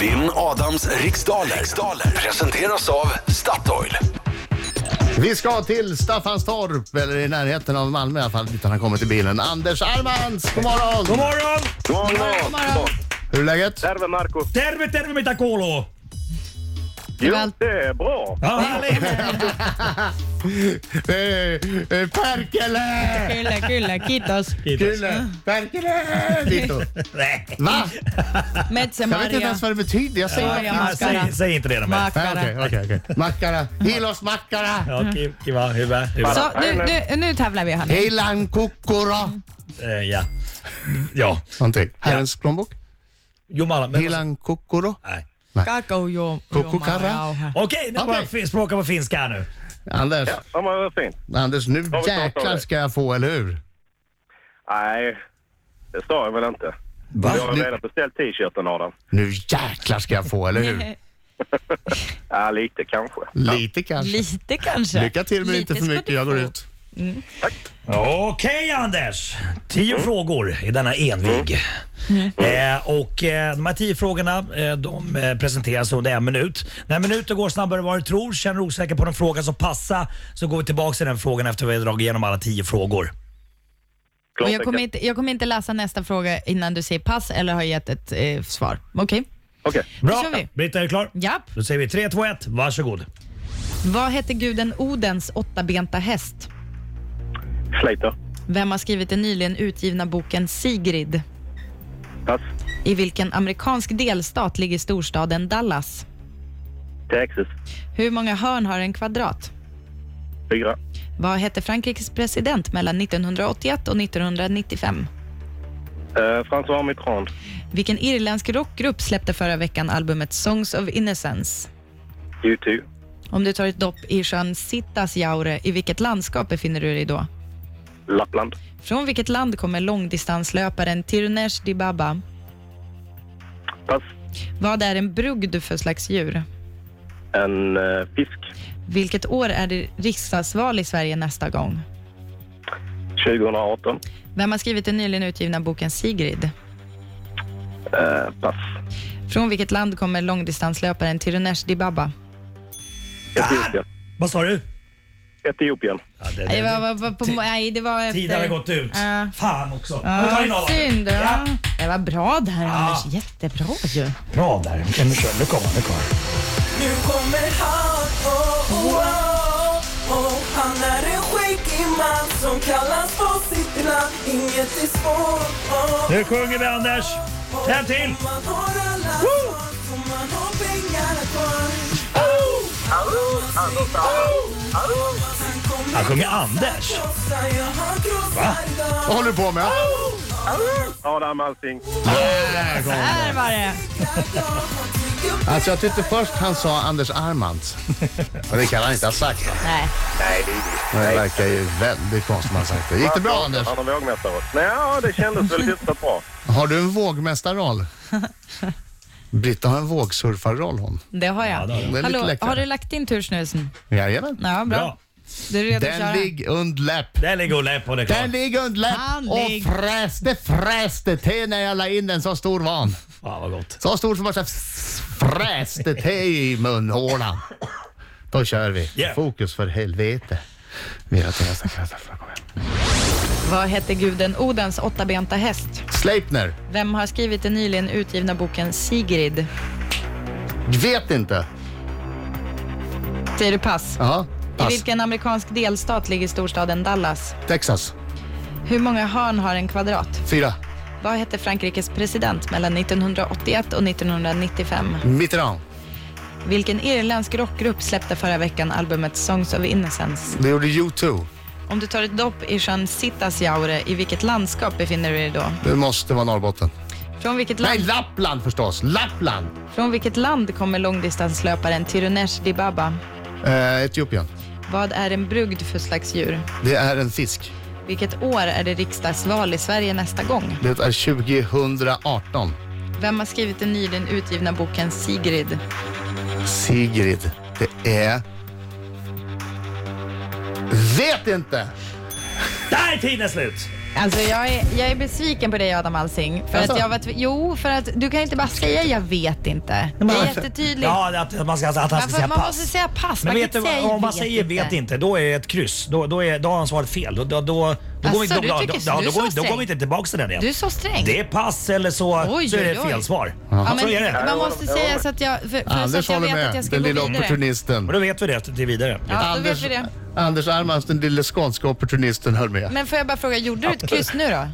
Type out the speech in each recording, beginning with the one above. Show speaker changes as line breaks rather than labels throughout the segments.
Vinn Adams riksdaler. riksdaler. Presenteras av Statoil.
Vi ska till Staffanstorp, eller i närheten av Malmö i alla fall, dit han har kommit i bilen. Anders Armans, god morgon!
God morgon!
Hur är läget?
Terve Marko.
Terve, terve mitä kuuluu?
Jo,
Väl-
det är bra.
Ja, härligt.
Eh, eh, Perkele!
Kyllä, kyllä. Kiitos.
Kiitos.
Kille! Perkele! Dito.
Nej.
Va?
Metsä
Jag vet inte
Maria.
ens vad det betyder. Jag säger
Joo,
bara
joo.
Ah, säg, säg inte det mer.
Nej, Okej,
Makkara.
okej, okej. Makkara. Hiilosmakkara!
Ja, ki- kiva, hyvä, hyvä.
So, ny, ny, nu tävlar vi Hanna.
Heilan kukkura!
Eh, ja. ja.
Någonting. Herrens plånbok.
Jumala. men-
Heilan kukkuro.
Nej.
Kakao juo.
Kukkukara.
Okej, nu
Okej.
okay. språka på finska här nu.
Anders,
Ja, men vad fint.
Anders, nu
vi pratat om
jäklar
det?
ska jag få, eller hur?
Nej, det sa jag väl inte.
Va?
Jag har
Nu-
redan beställt t-shirten Adam.
Nu jäklar ska jag få, eller hur?
Ja, lite kanske.
Lite kanske.
Lite kanske.
Lycka till men
Lite
inte för
ska
mycket.
du
Jag går
få.
ut.
Okej Anders! Tio frågor i denna envig. Eh, och eh, de här tio frågorna eh, de eh, presenteras under en minut. När minuten går snabbare än vad du tror, känner du osäker på någon fråga så passa så går vi tillbaka till den frågan efter vi har dragit igenom alla tio frågor.
Klart
Och
det
jag, kommer
kan-
inte, jag kommer inte läsa nästa fråga innan du säger pass eller har gett ett eh, svar. Okej?
Okej.
Bra!
kör vi.
Britta, är du klar?
Japp.
Då säger vi 3, 2, 1, varsågod.
Vad hette guden Odens åttabenta häst?
Slater.
Vem har skrivit den nyligen utgivna boken Sigrid?
Pass.
I vilken amerikansk delstat ligger storstaden Dallas?
Texas.
Hur många hörn har en kvadrat?
Fyra.
Vad hette Frankrikes president mellan 1981 och 1995?
Eh, François Mitterrand.
Vilken irländsk rockgrupp släppte förra veckan albumet Songs of Innocence?
U2.
Om du tar ett dopp i sjön Sitasjaure, i vilket landskap befinner du dig då?
Lappland.
Från vilket land kommer långdistanslöparen Tirunesh Dibaba?
Pass.
Vad är en brugd för slags djur?
En eh, fisk.
Vilket år är det riksdagsval i Sverige nästa gång?
2018.
Vem har skrivit den nyligen utgivna boken Sigrid?
Eh, pass.
Från vilket land kommer långdistanslöparen Tirunesh Dibaba?
Etiopien.
Vad sa du?
Etiopien.
Ja, det,
Nej, vad- vad- vad- på- Nej, det var efter...
Tiden hade gått ut.
Ja.
Fan också. Vi tar in
Ja,
Adam.
synd.
Ja.
Ja. Det var bra där
Ja.
Anders. Jättebra ju.
Bra där. Nu kör- Nu kommer han. Nu kommer han.
Nu kommer han, oh, oh, oh, oh. Han är en skäggig man som kallas på sitt namn Inget är svårt, oh,
Nu sjunger vi Anders.
oh.
En till.
Om man har alla svar, om man har pengarna kvar
Han sjunger Anders.
Va?
Vad håller du på med?
Adam Alsing.
Där kom den.
Där var det.
Alltså jag tyckte först han sa Anders Armans. Men det kan han inte ha sagt. va?
Nej.
Nej, det är inget.
Men det verkar ju väldigt konstigt man sagt det. Gick det bra Anders?
Han är vågmästare. Nej, ja, det kändes väl hyfsat bra.
Har du en vågmästarroll? Britta har en vågsurfarroll hon.
Det har
Ja,
jag.
det har du.
Det är lite
Hallå,
läckare.
har du lagt in tursnusen?
Jajamän.
Ja, bra.
Bra.
Du är redo att
Den
köra?
ligger und läpp.
Där ligger Olle på det är
Den
klart.
ligger und läpp
Han lig-
och fräste fräste till när jag la in den. Så stor var han.
Fan vad gott.
Så stor som man så här fräste till i munhålan. Då kör vi.
Yeah.
Fokus för helvete. Vi har till nästa klass. Kom igen.
Vad hette guden Odens åttabenta häst?
Sleipner.
Vem har skrivit den nyligen utgivna boken Sigrid?
Vet inte.
Säger du pass?
Ja.
I
Pass.
vilken amerikansk delstat ligger storstaden Dallas?
Texas.
Hur många hörn har en kvadrat?
Fyra.
Vad hette Frankrikes president mellan 1981 och 1995?
Mitterrand.
Vilken irländsk rockgrupp släppte förra veckan albumet Songs of Innocence?
Det gjorde U2.
Om du tar ett dopp i sjön Sitasjaure, i vilket landskap befinner du dig då?
Det måste vara Norrbotten.
Från vilket
Nej,
land,
Lappland förstås. Lappland.
från vilket land kommer långdistanslöparen Tirunesh Dibaba?
Eh, Etiopien.
Vad är en brugd för slags djur?
Det är en fisk.
Vilket år är det riksdagsval i Sverige nästa gång?
Det är 2018.
Vem har skrivit den nyligen utgivna boken Sigrid?
Sigrid, det är... Vet inte!
Där är tiden slut.
Alltså jag är, jag är besviken på dig Adam Alsing. För
Alltså?
att jag var tv- jo, för att du kan inte bara säga jag vet inte. Det är jättetydligt.
Ja, att, att man ska, att han
man,
ska
får,
säga
man
pass.
måste säga pass.
Men
man
vet
kan
du,
inte säga
om man säger vet inte, då är ett kryss. Då, då, är, då har han svarat fel. Då, då, då, då,
Asså,
går, vi inte, då,
du
då,
tycker-
då,
du
då,
är så
går vi- då
sträng.
går vi inte tillbaka till den igen.
Du är så sträng.
Det är pass eller så,
Oj,
så är det
oj, oj.
felsvar.
Ja,
Så
men
är det.
Man måste
Ja,
säga
men-
så att jag, för, för så
Anders
att jag
håller
vet att jag
med,
ska
den
gå
lilla
vidare.
opportunisten.
Och då vet vi det till vidare.
Ja, då vet
Anders,
vi det.
Anders Armans, den lille skånska opportunisten, höll med.
Men får jag bara fråga, gjorde du ett kryss nu då?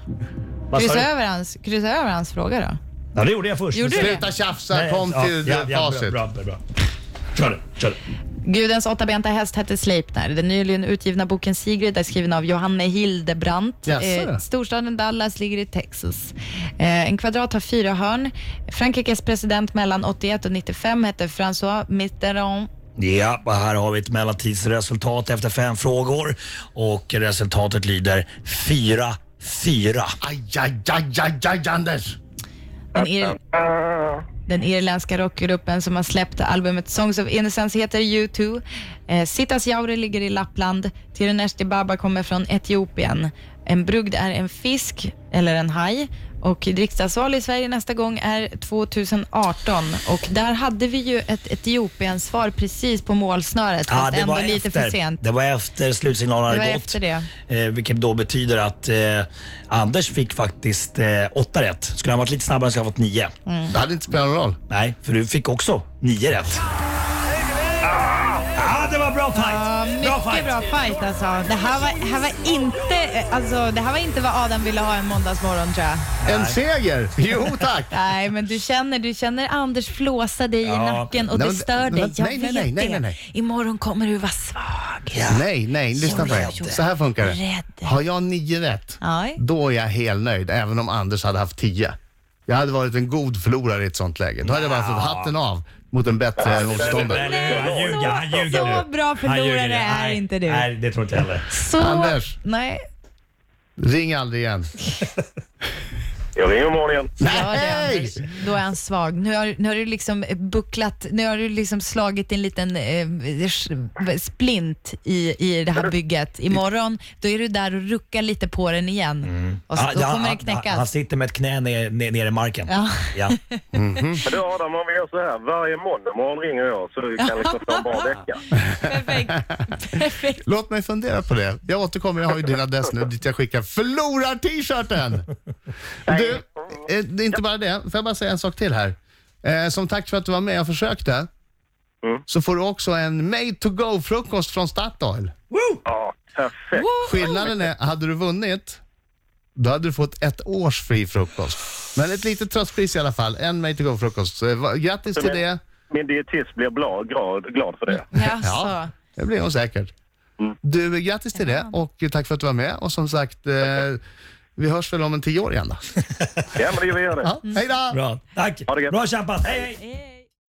Vad sa
Kryssa
du?
över hans, kryssa över hans fråga då?
Ja, det gjorde jag först.
Gjorde
Men
du
sen-
det?
Sluta tjafsa,
Nej,
kom
ja,
till
ja, ja,
facit.
Bra, bra, bra. Kör det, kör det.
Gudens åttabenta häst hette Sleipner. Den nyligen utgivna boken Sigrid är skriven av Johanne Hildebrandt. Eh,
Jaså?
storstaden Dallas ligger i Texas. Eh, en kvadrat har fyra hörn. Frankrikes president mellan 81 och 95 hette François Mitterrand.
Ja, och här har vi ett mellantidsresultat efter fem frågor. Och resultatet lyder 4-4.
Aj, aj, aj, aj, aj, Anders!
Den, ir- den irländska rockgruppen som har släppt albumet Songs of Innocence heter U2. Eh, Sitas Jaure ligger i Lappland. Tiruneshti Baba kommer från Etiopien. En brugd är en fisk eller en haj och dricksdagsval i Sverige nästa gång är 2018 och där hade vi ju ett Etiopien-svar precis på målsnöret
Ja,
fast ändå lite för sent.
det var efter slutsignalen
Det
hade
var
gått.
efter det.
Eh, vilket då betyder att eh, Anders fick faktiskt eh, åtta rätt. Skulle han varit lite snabbare så hade han fått nio.
Mm.
Det hade inte spelat någon roll.
Nej, för du fick också nio rätt. Ah, det var bra fight.
Ja, mycket
bra
bra
fight.
fight. alltså. Det här var, här var inte, alltså, det här var inte vad Adam ville ha en måndagsmorgon tror jag.
En seger! Jo tack!
Nej, men du känner, du känner Anders flåsa dig i
Ja.
nacken och
Nej,
det
men- nej,
stör dig. Jag
nej, nej,
vet
nej, nej,
det.
nej.
Imorgon kommer du vara svag.
Nej, nej, lyssna på
Sorry.
det. Så här funkar det.
Rädd.
Har jag nio rätt,
Aj.
då är jag helnöjd, även om Anders hade haft tio. Jag hade varit en god förlorare i ett sånt läge. Då hade jag bara fått hatten av mot en bättre motståndare.
Nej, han
Nej,
ljuger, han
så-
ljuger
så
nu.
bra
Han
förlorare
ljuger nu.
är
Nej,
inte du.
Nej, det tror inte jag heller.
Så,
Anders.
Nej,
Ring aldrig igen.
Jag ringer imorgon igen.
gör det Anders. Då är han svag. Nu har, nu har du liksom bucklat, nu har du liksom slagit en liten eh, sh- splint i, i det här bygget. Imorgon, då är du där och ruckar lite på den igen. Och så,
Ja,
då
ja,
kommer
han-
det
Han, han
knäckas.
sitter med ett knä ner, ner, ner i marken.
Ja.
Ja.
Men du Adam, om vi gör så här. Varje måndag morgon ringer jag så vi kan liksom få en bra vecka.
Perfekt. Perfekt.
Låt mig fundera på det. Jag återkommer, jag har ju din adress nu dit jag skickar förlorar-t-shirten. Du, eh, det är inte bara det. Får jag bara säga en sak till här? Eh, som tack för att du var med och försökte, så får du också en made to go-frukost från Statoil.
Ja, perfekt.
Skillnaden är, hade du vunnit, då hade du fått ett års fri frukost. Men ett litet tröstpris i alla fall. En made to go-frukost. Så, eh, va- Grattis till det.
Min dietist blir bla, glad, glad för det.
Jaså.
Ja, det blir hon säkert. Du, grattis till det och tack för att du var med. Och som sagt, eh, vi hörs väl om en tio år igen då.
Ja, men det gör vi. Gör det.
Ja, hej då!
Bra, tack.
det gött.
Bra kämpat. Hej, hej.
Eh.